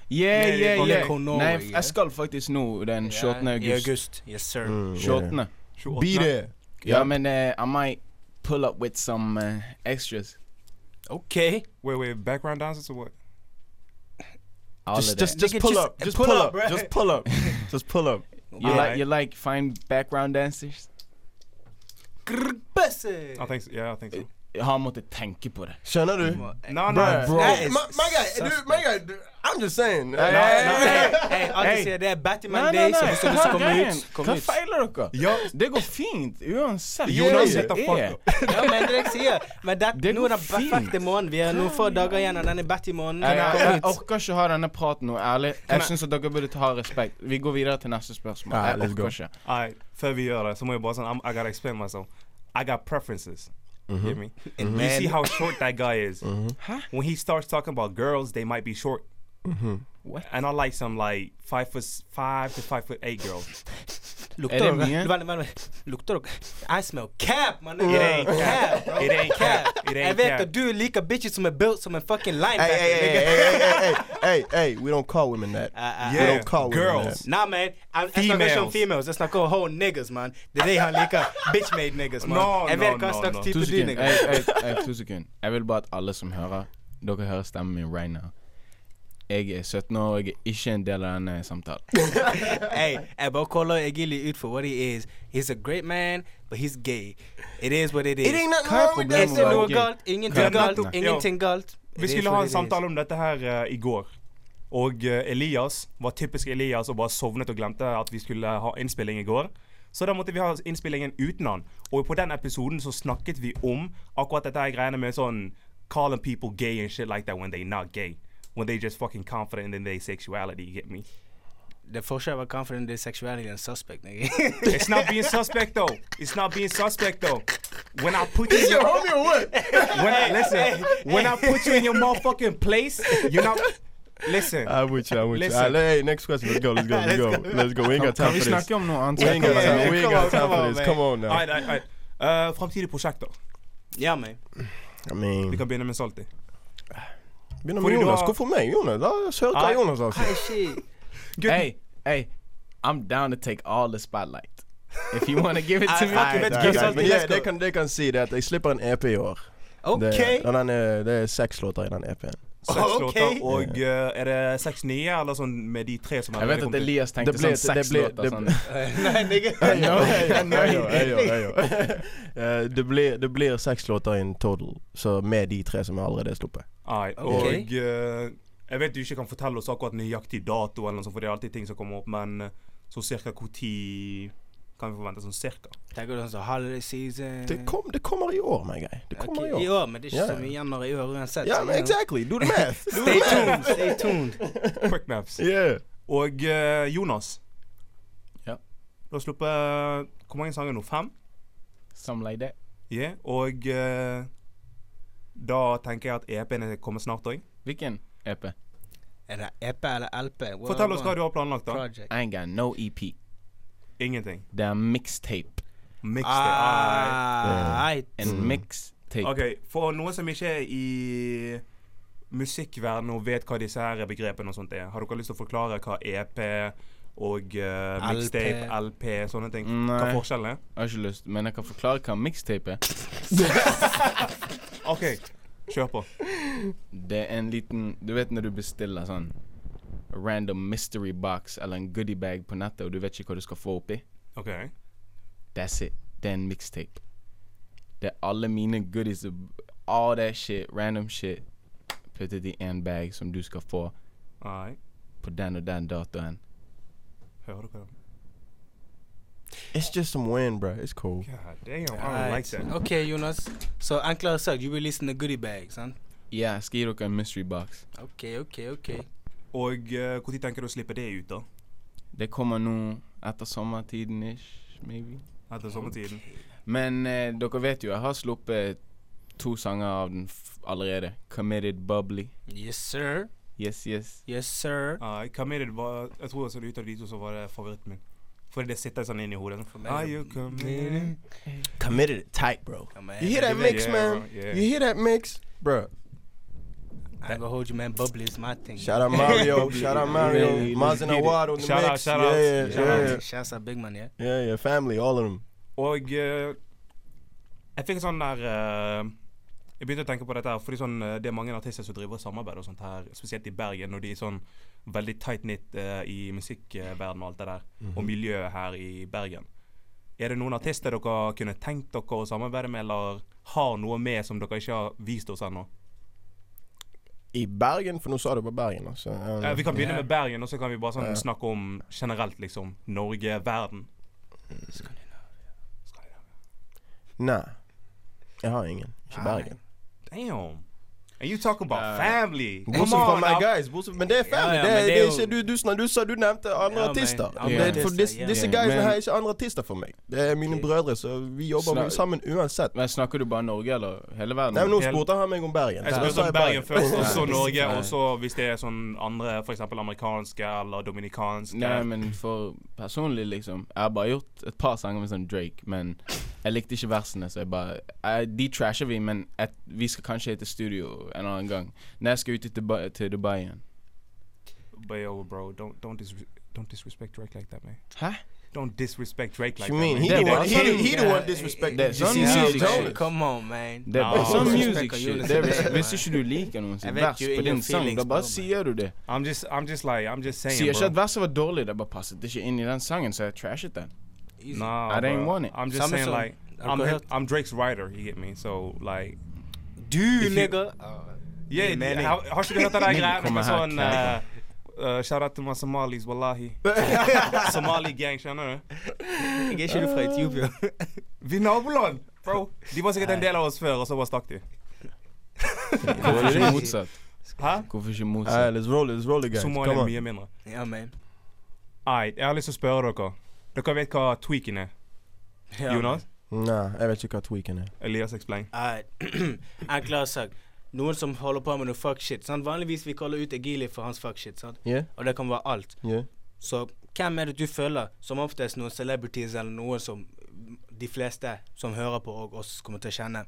S1: Lille-
S3: yeah,
S1: Lille
S3: yeah.
S2: Konoe,
S3: Nei,
S2: yeah.
S3: jeg skal faktisk nå den 14.
S2: I
S3: august.
S2: august. Yes, sir.
S4: Mm,
S3: 14.
S4: yeah.
S1: 28.
S4: Be there.
S3: Ja, men eh, I might pull up with some eh, extras.
S2: Okay.
S1: Wait, wait, background dancers or what?
S3: All
S4: Just,
S3: of
S4: just,
S3: that.
S4: just
S2: Nigga,
S4: pull
S2: just-
S4: up. Just
S2: pull
S4: pull
S2: up,
S4: up.
S2: bruh.
S4: Just pull up. Just pull up.
S3: You
S1: Alright.
S3: like you like fine background dancers?
S1: I think so. Yeah, I think so.
S3: Jeg har måttet tenke på det.
S4: Skjønner du?
S1: No, no,
S4: Bruh,
S1: bro.
S4: My,
S2: That is
S4: my guy, dude, my guy, dude, I'm just saying.
S2: Hey, hey, alle
S1: Hey.
S2: sier det er Batman Day, så hvis du
S3: hva
S2: skal komme
S3: greien?
S2: ut, kom
S3: Hva
S2: ut.
S3: feiler dere?
S1: Ja,
S3: Det går fint uansett.
S1: Jonas
S3: Det
S1: sitter fuck
S3: er-
S2: Ja, men det jeg sier, men det,
S3: Det
S2: nå er
S3: går
S2: den perfekte
S3: fint.
S2: måneden. Vi er noen få dager igjen av denne
S3: Jeg, jeg, jeg
S2: Batty-måneden. Kom ut.
S3: orker ikke ha denne praten nå, ærlig. Jeg
S1: jeg-
S3: syns dere burde ta respekt. Vi går videre til neste spørsmål.
S4: Ja,
S3: Jeg
S4: let's go.
S3: orker ikke.
S1: Alright, før vi gjør det, så må jeg bare sånn I'm, I gotta explain myself. I got preferences. You hear me? You see how short that guy is. When he starts talking about girls, they might be short.
S3: What?
S1: And I like some like five foot s- five to five foot eight girls.
S3: Er det
S2: Lukter dere?
S3: mye?
S2: Vent, vent, vent. Lukter dere? I smell cap, man.
S1: It ain't
S2: Cap,
S1: cap.
S2: bro.
S1: It ain't cap. It
S2: Jeg
S1: ain't
S2: vet
S1: cap.
S2: at du liker bitches som er built som en fucking
S4: Hey, hey, hey, hey,
S2: linebacker. nigga.
S4: hey, hey, hey, hey, hey, we don't call women that.
S2: Ah, ah,
S4: We
S1: Yeah.
S4: don't call women
S1: Girls.
S4: that.
S2: Nah, man. Jeg, jeg snakker ikke om
S1: Females.
S2: females. Jeg snakker om whole niggas, man. Det er de han liker. Bitch-made niggas, man.
S1: No,
S2: jeg
S1: no,
S2: vet hva
S1: no,
S2: slags
S1: no.
S2: type
S3: To
S2: du
S3: sekunder.
S2: nigger.
S3: Jeg, jeg, jeg, to sekunder. Jeg vil bare at alle som hører Dere hører stemmen min right now. Jeg er 17 år, og jeg er ikke en del av denne samtalen.
S2: hey, jeg bare caller Egili ut for what he is. He's a great man, but he's gay. It is what it is.
S5: It ain't nothing
S3: Hva er
S5: wrong
S3: problemet
S5: with that.
S2: Ikke
S3: med å
S2: noe
S3: være gay?
S2: galt. Ingenting
S1: Nei.
S2: galt. Ingenting galt.
S1: Vi skulle ha en samtale om dette her eh, i går. Og eh, Elias var typisk Elias og bare sovnet og glemte at vi skulle ha innspilling i går. Så da måtte vi ha innspillingen uten han. Og på den episoden så snakket vi om akkurat dette her greiene med sånn Calling people gay and shit like that when they not gay. When they just fucking confident in their sexuality, you get me?
S2: The forskjell var confident is sexuality and suspect, nigga.
S1: It's not being suspect though. It's not being suspect though. When I put you in your
S4: Homie or what?
S1: when I listen, when I put you in your motherfucking place, you're not listen.
S4: I'm with you. I'm with you.
S1: Listen.
S4: All right, hey, next question. Let's go. Let's go. Let's go. Let's go. We ain't got
S3: Kan
S4: time
S3: vi
S4: for this.
S3: snakke om noe annet?
S4: We ain't got
S3: Come on,
S4: time.
S3: man.
S4: We ain't got time for this. Come on now.
S1: Alright, alright, alright. Eh, Fremtidige prosjekter.
S2: Ja, man.
S4: I
S1: Vi
S4: mean,
S1: kan begynne med Salty.
S4: begynner
S1: Fordi
S4: med
S1: du
S4: Jonas.
S1: har-
S4: Hvorfor meg, Jonas? La oss høre hva
S1: Nei.
S4: Jonas har å si.
S2: Shit.
S3: Hey, hey, I'm down to take all the spotlight. If you want to give it to
S2: I-
S3: me,
S2: I-
S4: Nei,
S2: vet
S4: nei,
S2: ikke,
S4: nei,
S2: Salty,
S4: men
S2: let's
S4: jeg-
S2: go.
S4: det kan- Det kan si det at jeg slipper en EP i år. Det,
S2: OK.
S4: den, den er, det er seks låter i den EP-en.
S1: Seks
S2: Ok.
S1: låter, og eh, er det seks nye, eller sånn med de tre som
S3: Jeg vet at
S1: kommet ut?
S3: Elias tenkte
S4: Det ble-
S3: sånn seks
S4: det ble-
S3: låter.
S4: det-
S3: Sånn.
S2: Nei, nigga.
S4: Eh, Det blir- det blir seks låter in total, så med de tre som jeg allerede er sluppet.
S1: Alright,
S2: Ok.
S1: Og eh, jeg vet du ikke kan fortelle oss akkurat nøyaktig dato, eller noe sånt, for det er alltid ting som kommer opp, men eh, så cirka hvor tid kan vi forvente? Sånn cirka?
S2: Tenker du sånn som holiday season?
S4: Det, kom, det kommer i år, my guy. Det kommer
S2: Mm. Ok,
S4: i
S2: I
S4: år.
S2: år, men det er ikke
S4: Ja,
S2: så
S4: ja.
S2: mye januar i år uansett.
S4: Ja,
S2: så,
S4: men
S2: you know.
S4: exactly. Do the math. Do the
S2: Stay
S4: math.
S2: tuned, stay tuned.
S1: Quick maps.
S4: Yeah.
S1: Og eh, Jonas.
S3: Ja.
S1: Du har sluppet eh, Hvor mange sanger nå? Fem?
S3: Something like that.
S1: Ja. Og eh, da tenker jeg at EP-ene kommer snart òg.
S3: Hvilken EP? I
S2: Er det epe eller elpe? Hva-
S1: Fortell oss hva du har planlagt, da.
S2: Project.
S3: ain't got no EP.
S1: Ingenting.
S3: Det er mixtape.
S1: Mix det. Ah.
S2: Ah, right.
S3: En mixtape.
S1: OK, for noen som ikke er i musikkverdenen og vet hva disse her begrepene og sånt er, har dere lyst til å forklare hva EP og eh, mixtape, LP, sånne ting Hva
S3: Nei.
S1: forskjellen er?
S3: Jeg har ikke lyst, men jeg kan forklare hva mixtape er.
S1: OK, kjør på.
S3: Det er en liten Du vet når du bestiller sånn random mystery box eller en goodiebag på nettet, og du vet ikke hva du skal få oppi?
S1: OK.
S3: That's it. Det er en mixtape. Det er alle mine goodies og all that shit, random shit, puttet i en bag som du skal få
S1: Nei.
S3: på den og den datoen.
S1: Hører dere?
S4: It's just some wind, bro. It's cool.
S1: God damn, I don't like
S2: Right.
S1: that.
S2: Ok, Jonas. Så enklere sagt, du releaser en goodie bag, sant?
S3: Ja, jeg skal gi dere en mystery box.
S2: Ok, ok, ok.
S1: Og eh, hvor tid tenker du å slippe det ut, da?
S3: Det kommer nå etter sommertiden ish, maybe.
S1: Etter sommertiden?
S3: Men eh, dere vet jo, jeg har sluppet to sanger av den f allerede. Committed Bubbly.
S2: Yes, sir.
S3: Yes, yes.
S2: Yes, sir.
S1: Nei, Committed var Jeg tror altså ut av de to så var det favoritten min. Fordi det sitter sånn inn i hodet.
S2: For meg-
S1: Are you committed?
S4: Committed it tight, bro.
S2: Come on,
S4: You hear that
S1: Yeah,
S4: mix,
S1: yeah,
S4: man?
S1: bro, yeah.
S4: You hear that mix, bro?
S2: I'm gonna hold you, man. Bubbly is my thing.
S4: Shout out Mario. shout out Mario.
S3: Yeah, yeah,
S4: Maz and
S3: yeah.
S4: Awad on the
S1: Shout out,
S4: mix.
S1: shout
S4: yeah,
S1: out,
S4: yeah,
S1: shout
S4: yeah,
S1: out.
S4: yeah,
S2: Shouts out Big Man, yeah?
S4: yeah, Family, all of them.
S1: Og eh, jeg fikk en sånn der eh, Jeg begynte å tenke på dette her, fordi sånn, eh, det er mange artister som driver og samarbeider og sånt her, spesielt i Bergen, og de er sånn veldig tight knit eh, i musikkverdenen og alt det der, og miljøet her i Bergen. Er det noen artister dere kunne tenkt dere å samarbeide med, eller har noe med som dere ikke har vist oss ennå?
S4: I Bergen, for nå sa du bare Bergen, altså. Um,
S1: Eh, vi kan begynne
S2: Ja.
S1: med Bergen, og så kan vi bare sånn
S4: Ja.
S1: snakke om generelt, liksom. Norge, verden.
S4: Nei. Jeg har ingen.
S2: Nei.
S4: Ikke Bergen.
S1: Damn! And you talk about
S3: Eh,
S1: family! Come
S4: Bortsett fra
S1: on!
S4: my
S1: now.
S4: guys. bortsett- Men det er
S2: Ja,
S4: family.
S2: ja,
S4: det,
S2: men
S4: er,
S2: det
S4: det
S2: er
S4: er
S2: jo-
S4: ikke du, du, snak- du sa du nevnte andre
S2: Ja, men-
S4: artister.
S2: andre
S4: Det er- for
S2: artister,
S4: dis,
S2: ja.
S4: disse
S3: Ja,
S4: guysene
S3: men-
S4: her er ikke andre artister for meg. Det er mine
S2: Ok.
S4: brødre, så vi jobber
S3: Snak-
S4: sammen uansett.
S3: Men Snakker du bare Norge eller hele verden?
S4: Nei, men Nå
S1: Hel-
S4: spurte han meg om Bergen.
S1: Jeg er
S4: så da sa
S1: spurte om
S4: jeg
S1: Bergen først, og så
S3: Nei.
S1: Norge,
S3: Nei.
S1: og så hvis det er sånn andre, f.eks. amerikanske eller dominikanske.
S3: Nei, men for personlig, liksom. Jeg har bare gjort et par sanger med sånn Drake, men jeg likte ikke versene, så jeg bare jeg, De trasher vi, men jeg, vi skal kanskje hete studio en annen gang. Når jeg skal ut til Dubai, til Dubai igjen.
S1: But yo, bro, don't, don't, dis don't disrespect Drake like that, man.
S3: Hæ?
S1: Don't disrespect Drake like
S4: you
S1: that.
S4: mean? He
S1: man.
S4: the
S1: did
S4: one.
S1: that.
S4: He, the- he the
S2: Yeah.
S4: one
S2: eh,
S4: disrespecting.
S3: That some
S4: Jesse
S3: music
S4: Jonas.
S3: shit.
S2: Come on, man.
S3: Det
S1: Ja.
S3: er sånn
S2: Respekt
S3: music
S2: og
S3: shit.
S2: julestemning,
S3: Det er res- Hvis
S2: man.
S3: ikke du liker noen sin
S2: Jeg vet
S3: vers
S2: you in
S3: på
S2: your
S3: den sangen,
S2: feelings,
S3: da bare
S2: bro,
S3: sier du det.
S1: I'm just I'm just like I'm just saying.
S3: Sier ikke
S1: bro.
S3: at verset var dårlig, det bare passet ikke inn i den sangen, så jeg trashet den.
S2: Easy.
S1: Nah,
S3: I didn't
S1: bruh.
S3: want it.
S1: I'm just
S2: Summer
S1: saying
S2: song.
S1: like
S2: I'll
S1: I'm hip-
S2: go ahead.
S1: I'm Drake's writer. You get me? So like
S2: Du,
S1: If you-
S2: nigga.
S1: yeah.
S2: man,
S1: Har har ikke du hørt det der
S3: Nigga
S1: greia med
S3: kommer
S1: noe
S3: her,
S1: sånn
S3: klar.
S1: eh, eh, Shout out to my Somalis, wallahi. Somali gang, skjønner du?
S2: Jeg er ikke du fra Etiopia.
S1: Vi er naboland, bro. De var sikkert en del av oss før, og så bare stakk de.
S3: Hvorfor ikke motsatt?
S1: Hæ?
S3: Hvorfor ikke
S4: Alright,
S3: motsatt?
S4: let's roll it, let's roll it, guys.
S1: Somalia
S4: Come
S1: er
S4: on.
S1: mye mindre.
S2: ja, man.
S1: Nei, jeg har lyst til å spørre dere. Dere vet hva tweaken er?
S2: Ja,
S1: Jonas?
S4: Nah, jeg vet ikke hva tweaken er.
S1: Elias, explain.
S2: Alright. Enklere sagt. Noen som holder på med noe fuck shit. Sant? Vanligvis vi kaller ut Egili for hans fuck shit, Oh, sant?
S4: Yeah,
S2: og det kan være alt.
S4: yeah.
S2: Så hvem er det du føler som oftest noen celebrities eller noen som de fleste som hører på og oss kommer til å kjenne?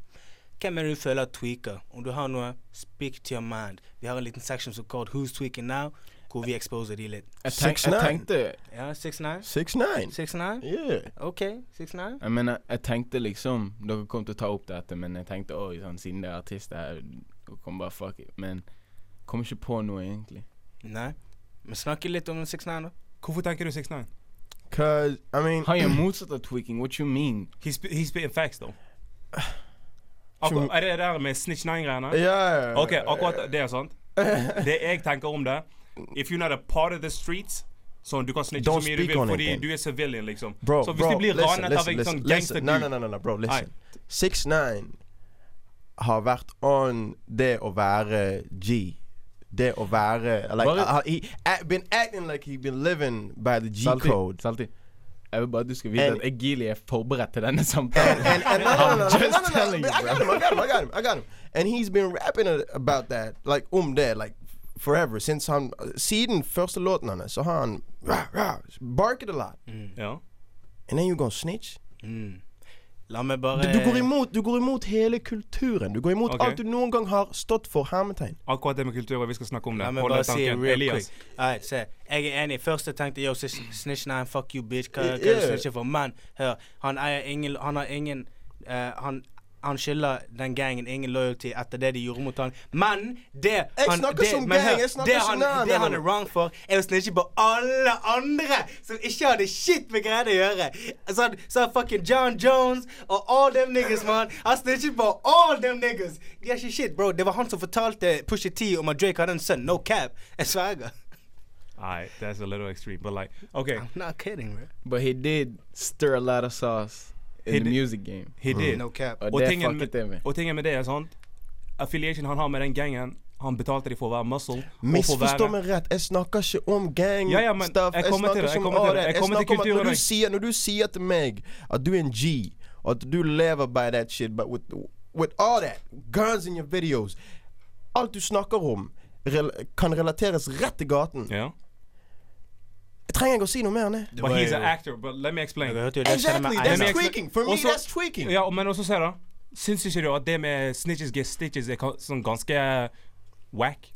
S2: Hvem er det du føler tweaker? Om du har noe, speak to your mind. Vi har en liten section som called Who's Tweaking Now, hvor vi exposer de litt.
S3: Jeg, tenk, jeg
S4: 6ix9ine.
S3: tenkte
S2: Ja, 6ix9ine?
S4: 6ix9ine.
S2: 6ix9ine?
S4: Yeah.
S2: OK, 6ix9ine.
S3: Jeg mener, jeg tenkte liksom Dere kom til å ta opp dette, men jeg tenkte oi, sånn, siden det er artist her, dere kom bare fuck it. Men kom ikke på noe, egentlig.
S2: Nei. Men snakke litt om 6ix9ine, da.
S1: Hvorfor tenker du 6ix9ine?
S4: Cause I mean,
S3: Han gjør motsatt av tweaking. What you mean?
S1: He's sp- he's spitting facts, though. Akkur er det det der med Snitch 9-greiene?
S4: yeah.
S1: Ok, akkurat det er sant. Det jeg tenker om det If you're not a part of the streets Sånn, du kan snitche så
S4: Don't
S1: mye du
S4: speak
S1: vil
S4: on
S1: fordi
S4: anything.
S1: du er civilian, liksom.
S4: Bro,
S1: så hvis
S4: bro,
S1: de blir
S4: listen,
S1: ranet av
S4: listen,
S1: en sånn
S4: listen,
S1: gangster
S4: listen. Nei, nei,
S1: dude
S4: nei, nei, bro, listen. 6ix9ine har vært on det å være G. Det å være like,
S3: Bare-
S4: uh, He a- been acting like he been living by the
S3: Salty.
S4: G-code.
S3: Salty. Jeg vil bare at du skal vite
S4: And-
S3: at Egili er forberedt til denne samtalen.
S4: And, and no, no, no, no,
S3: I'm
S4: no,
S3: just
S4: no, no, no,
S3: telling you,
S4: I got
S3: bro.
S4: him, I got him, I got him, I got him. And he's been rapping a- about that, like um there, like forever since han uh, siden første låten hans, så har han rah, rah, bark it a lot.
S3: Mm.
S1: ja.
S4: And then you gonna snitch?
S2: Mm. La meg bare
S4: Du, du, går imot, du går imot hele kulturen. Du går imot
S1: Ok.
S4: alt du noen gang har stått for. Hermetegn.
S1: Akkurat det med kultur, vi skal snakke om det.
S2: La meg
S1: Hold
S2: bare
S1: den
S2: si
S1: tanken.
S2: real
S1: Elias.
S2: quick. Alright, se. Jeg er enig. Først jeg tenkte yo, sis- snitch nine, fuck you, bitch. Hva, hva er
S4: Yeah.
S2: det du snitcher for? Men hør, han eier ingen Han har ingen eh, Han han skylder den gangen ingen loyalty etter det de gjorde mot han. Men det
S4: Jeg
S2: han,
S4: snakker
S2: det,
S4: som
S2: men
S4: gang,
S2: hør,
S4: jeg snakker
S2: det
S4: som
S2: han,
S4: nær,
S2: det han
S4: mener
S2: er
S4: du.
S2: wrong for, er å snitche på alle andre som ikke hadde shit med greiene å gjøre. Sånn så fucking John Jones og all them niggas, man. Han snitchet på all them niggas. De har ikke shit, bro. Det var han som fortalte Pusha T om at Drake hadde en sønn. No cap. Jeg sverger.
S1: Nei, that's a little extreme, but like OK,
S2: I'm not kidding, bro.
S3: But he did stir a lot of sauce in
S1: He
S3: the
S1: did.
S3: music game.
S1: he did.
S2: No cap.
S3: Og,
S1: Og
S3: det
S1: tingen
S3: fucket jeg med.
S1: Og tingen med det er sånn Affiliation han har med den gangen, han betalte de for å være muscle. og for å
S4: Misforstå
S1: være-
S4: meg rett, jeg snakker ikke om gang
S1: Ja, ja, men
S4: stuff.
S1: jeg kommer til det, jeg
S4: snakker ikke om
S1: kommer til
S4: all
S1: det,
S4: that.
S1: jeg
S4: Jeg
S1: kommer til
S4: snakker om at
S1: kulturen,
S4: når du,
S1: jeg.
S4: sier, når du sier til meg at du er en G, og at du lever by that shit, but with, with all that, guns in your videos Alt du snakker om, rel kan relateres rett til gaten.
S1: Ja.
S4: Jeg trenger ikke å si noe mer enn det.
S1: But he's an actor, but let me explain.
S2: Jeg hørte jo det skjedde
S4: Exactly,
S2: med
S4: that's
S1: men-
S2: Einar.
S4: tweaking. For me,
S1: Også-
S4: that's tweaking.
S1: Ja, men også se da Syns ikke du at det med snitches get stitches er ka- sånn ganske whack?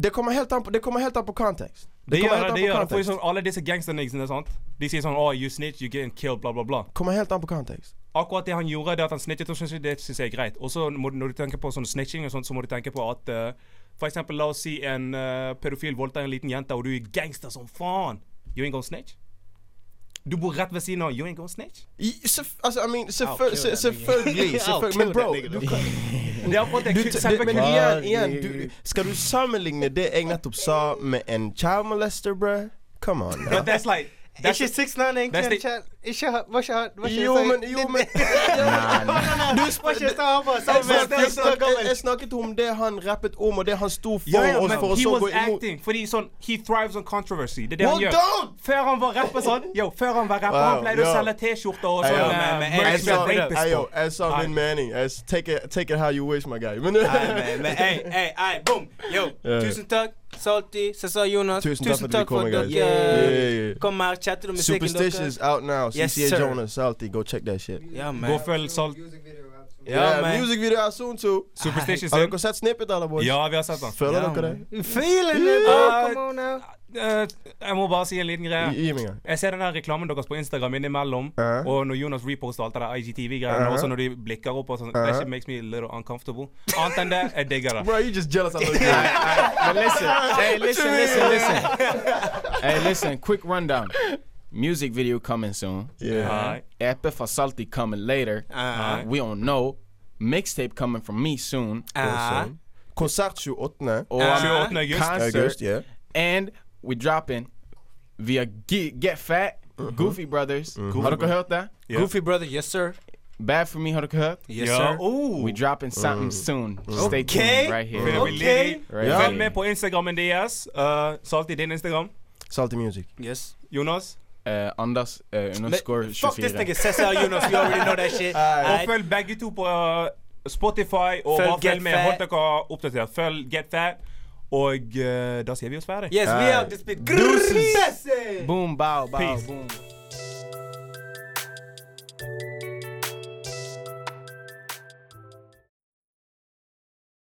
S4: Det kommer helt an på, det kommer helt an på kontekst.
S1: Det
S4: kommer
S1: gjør
S4: helt
S1: det,
S4: an
S1: det
S4: på
S1: gjør det. For
S4: kontekst.
S1: sånn, alle disse gangsterniggsene, sant. De sier sånn oh, you snitch, you getting killed, bla, bla, bla.
S4: Kommer helt an på kontekst.
S1: Akkurat det han gjorde, det at han snitchet, og synes jeg- det synes jeg er greit. Og så må du- når du tenker på sånn snitching og sånt, så må du tenke på at eh, For eksempel, la oss si en eh, pedofil voldtar en liten jente, og du er gangster som faen. You ain't gonna snitch? Du bor rett ved siden av. You ain't gonna snitch?
S4: I- selvf- Altså, I mean,
S2: kill
S4: selvfø-
S2: that
S4: se-
S2: nigga.
S4: selvfølgelig. selvfølgelig- Men bro, du kan
S1: Det er akkurat det.
S4: Du,
S1: kun-
S4: t-
S1: selve
S4: det, men
S1: kun-
S4: igjen, igjen du, Skal du sammenligne det jeg nettopp sa med en child molester, bruh? Come on.
S1: But that's like that's
S2: Ikke 6 9
S1: That's
S2: egentlig.
S1: the-
S2: Ikke Ikke Hva ikke han- hva ikke
S4: Jo,
S2: han-
S4: men Jo, men
S2: Du spør ikke hva han var
S4: Jeg
S2: sammen med.
S4: snakket- jeg snakket- jeg snakket om det han rappet om, og det han sto for,
S1: Ja, ja,
S4: og
S1: men
S4: for å
S1: he
S4: så
S1: was
S4: gå imot.
S1: acting, fordi sånn He thrives on controversy. Det er det
S4: Well
S1: han gjør.
S4: done!
S1: Før han var rapper sånn Yo, før han var rapper, han
S4: Wow,
S1: pleide å
S4: yo.
S1: selge T-skjorter og
S4: Hey,
S1: sånn. eh,
S4: yo,
S2: man, man,
S1: merch
S2: hey,
S4: Jeg
S1: med
S4: sa,
S2: yo,
S1: rapists på.
S4: hey, yo, jeg sa Vin Manning. Jeg s- Take it, take it how you wish, my guy. Men
S2: Nei, men, men ei, ei, ei, boom. Yo,
S4: Ja.
S2: tusen takk, Salty, Cesar Jonas.
S4: Tusen takk for at dere kom,
S2: for dere
S4: guys. Yeah, yeah, yeah.
S2: kom her, chattet om musikken
S4: Superstitious
S2: deres.
S4: out now.
S2: Yes,
S4: CCA
S2: sir.
S4: Jonas, Salty, go check that shit.
S2: Ja,
S1: Gå
S2: man.
S1: følg Salt.
S2: Ja,
S4: Yeah,
S2: man.
S4: music video out soon too.
S1: Superstition
S4: Har
S1: sin.
S4: dere sett snippet, alle boys?
S1: Ja, vi har sett den.
S4: Føler
S2: Ja,
S4: dere det?
S2: Feeling it, bro.
S1: Yeah.
S2: Come on now.
S1: Eh, jeg må bare si en liten greie.
S4: Gi gi meg en.
S1: Jeg ser den der reklamen deres på Instagram innimellom.
S4: Ja.
S1: Og når Jonas reposter alt det der IGTV-greiene.
S4: Ja.
S1: Også når de blikker opp og sånn.
S4: Ja.
S1: That shit makes me a little uncomfortable. Annet enn det, jeg digger det.
S4: Bro, you just jealous. I look good.
S3: But listen, hey, listen, listen, listen. hey, listen, quick rundown. Music video coming soon.
S4: Yeah.
S2: Uh-huh.
S1: Alright.
S3: Epic for Salty coming later.
S2: Ah.
S3: Uh, We don't know. Mixtape coming from me soon.
S2: Ah.
S4: Awesome. Konsert 28.
S3: Or
S1: 28. august.
S4: August,
S3: concert.
S4: yeah.
S3: And we dropping via Get, Get Fat,
S2: Mm-hmm.
S3: Goofy Brothers. Har dere hørt det?
S1: Yeah.
S2: Goofy brother, yes sir.
S3: Bad for me, har dere hørt?
S2: Yes
S1: Ja.
S2: sir.
S1: Oh.
S3: We dropping something soon. Stay
S2: Mm. Okay.
S3: tuned right here. Uh,
S1: Finner vi
S2: Ok.
S1: ledig.
S3: Right
S4: Ja.
S1: Følg med på Instagrammen deres. Uh, Salt i din Instagram.
S4: Salty music.
S2: Yes.
S1: Jonas.
S3: Uh, Anders uh, underscore
S2: But Fuck this
S3: 24.
S2: nigga Cesar Yunus, you already know that shit.
S1: Og følg begge to på uh, Spotify. Og
S2: Følg
S1: bare
S2: Get
S1: følg med. Hold
S2: Fat.
S1: dere oppdatert. Følg Get Fat. Og uh, da sier vi oss ferdig.
S2: Yes, we
S4: Alright.
S2: out this big.
S3: Boom, bow, bow, boom.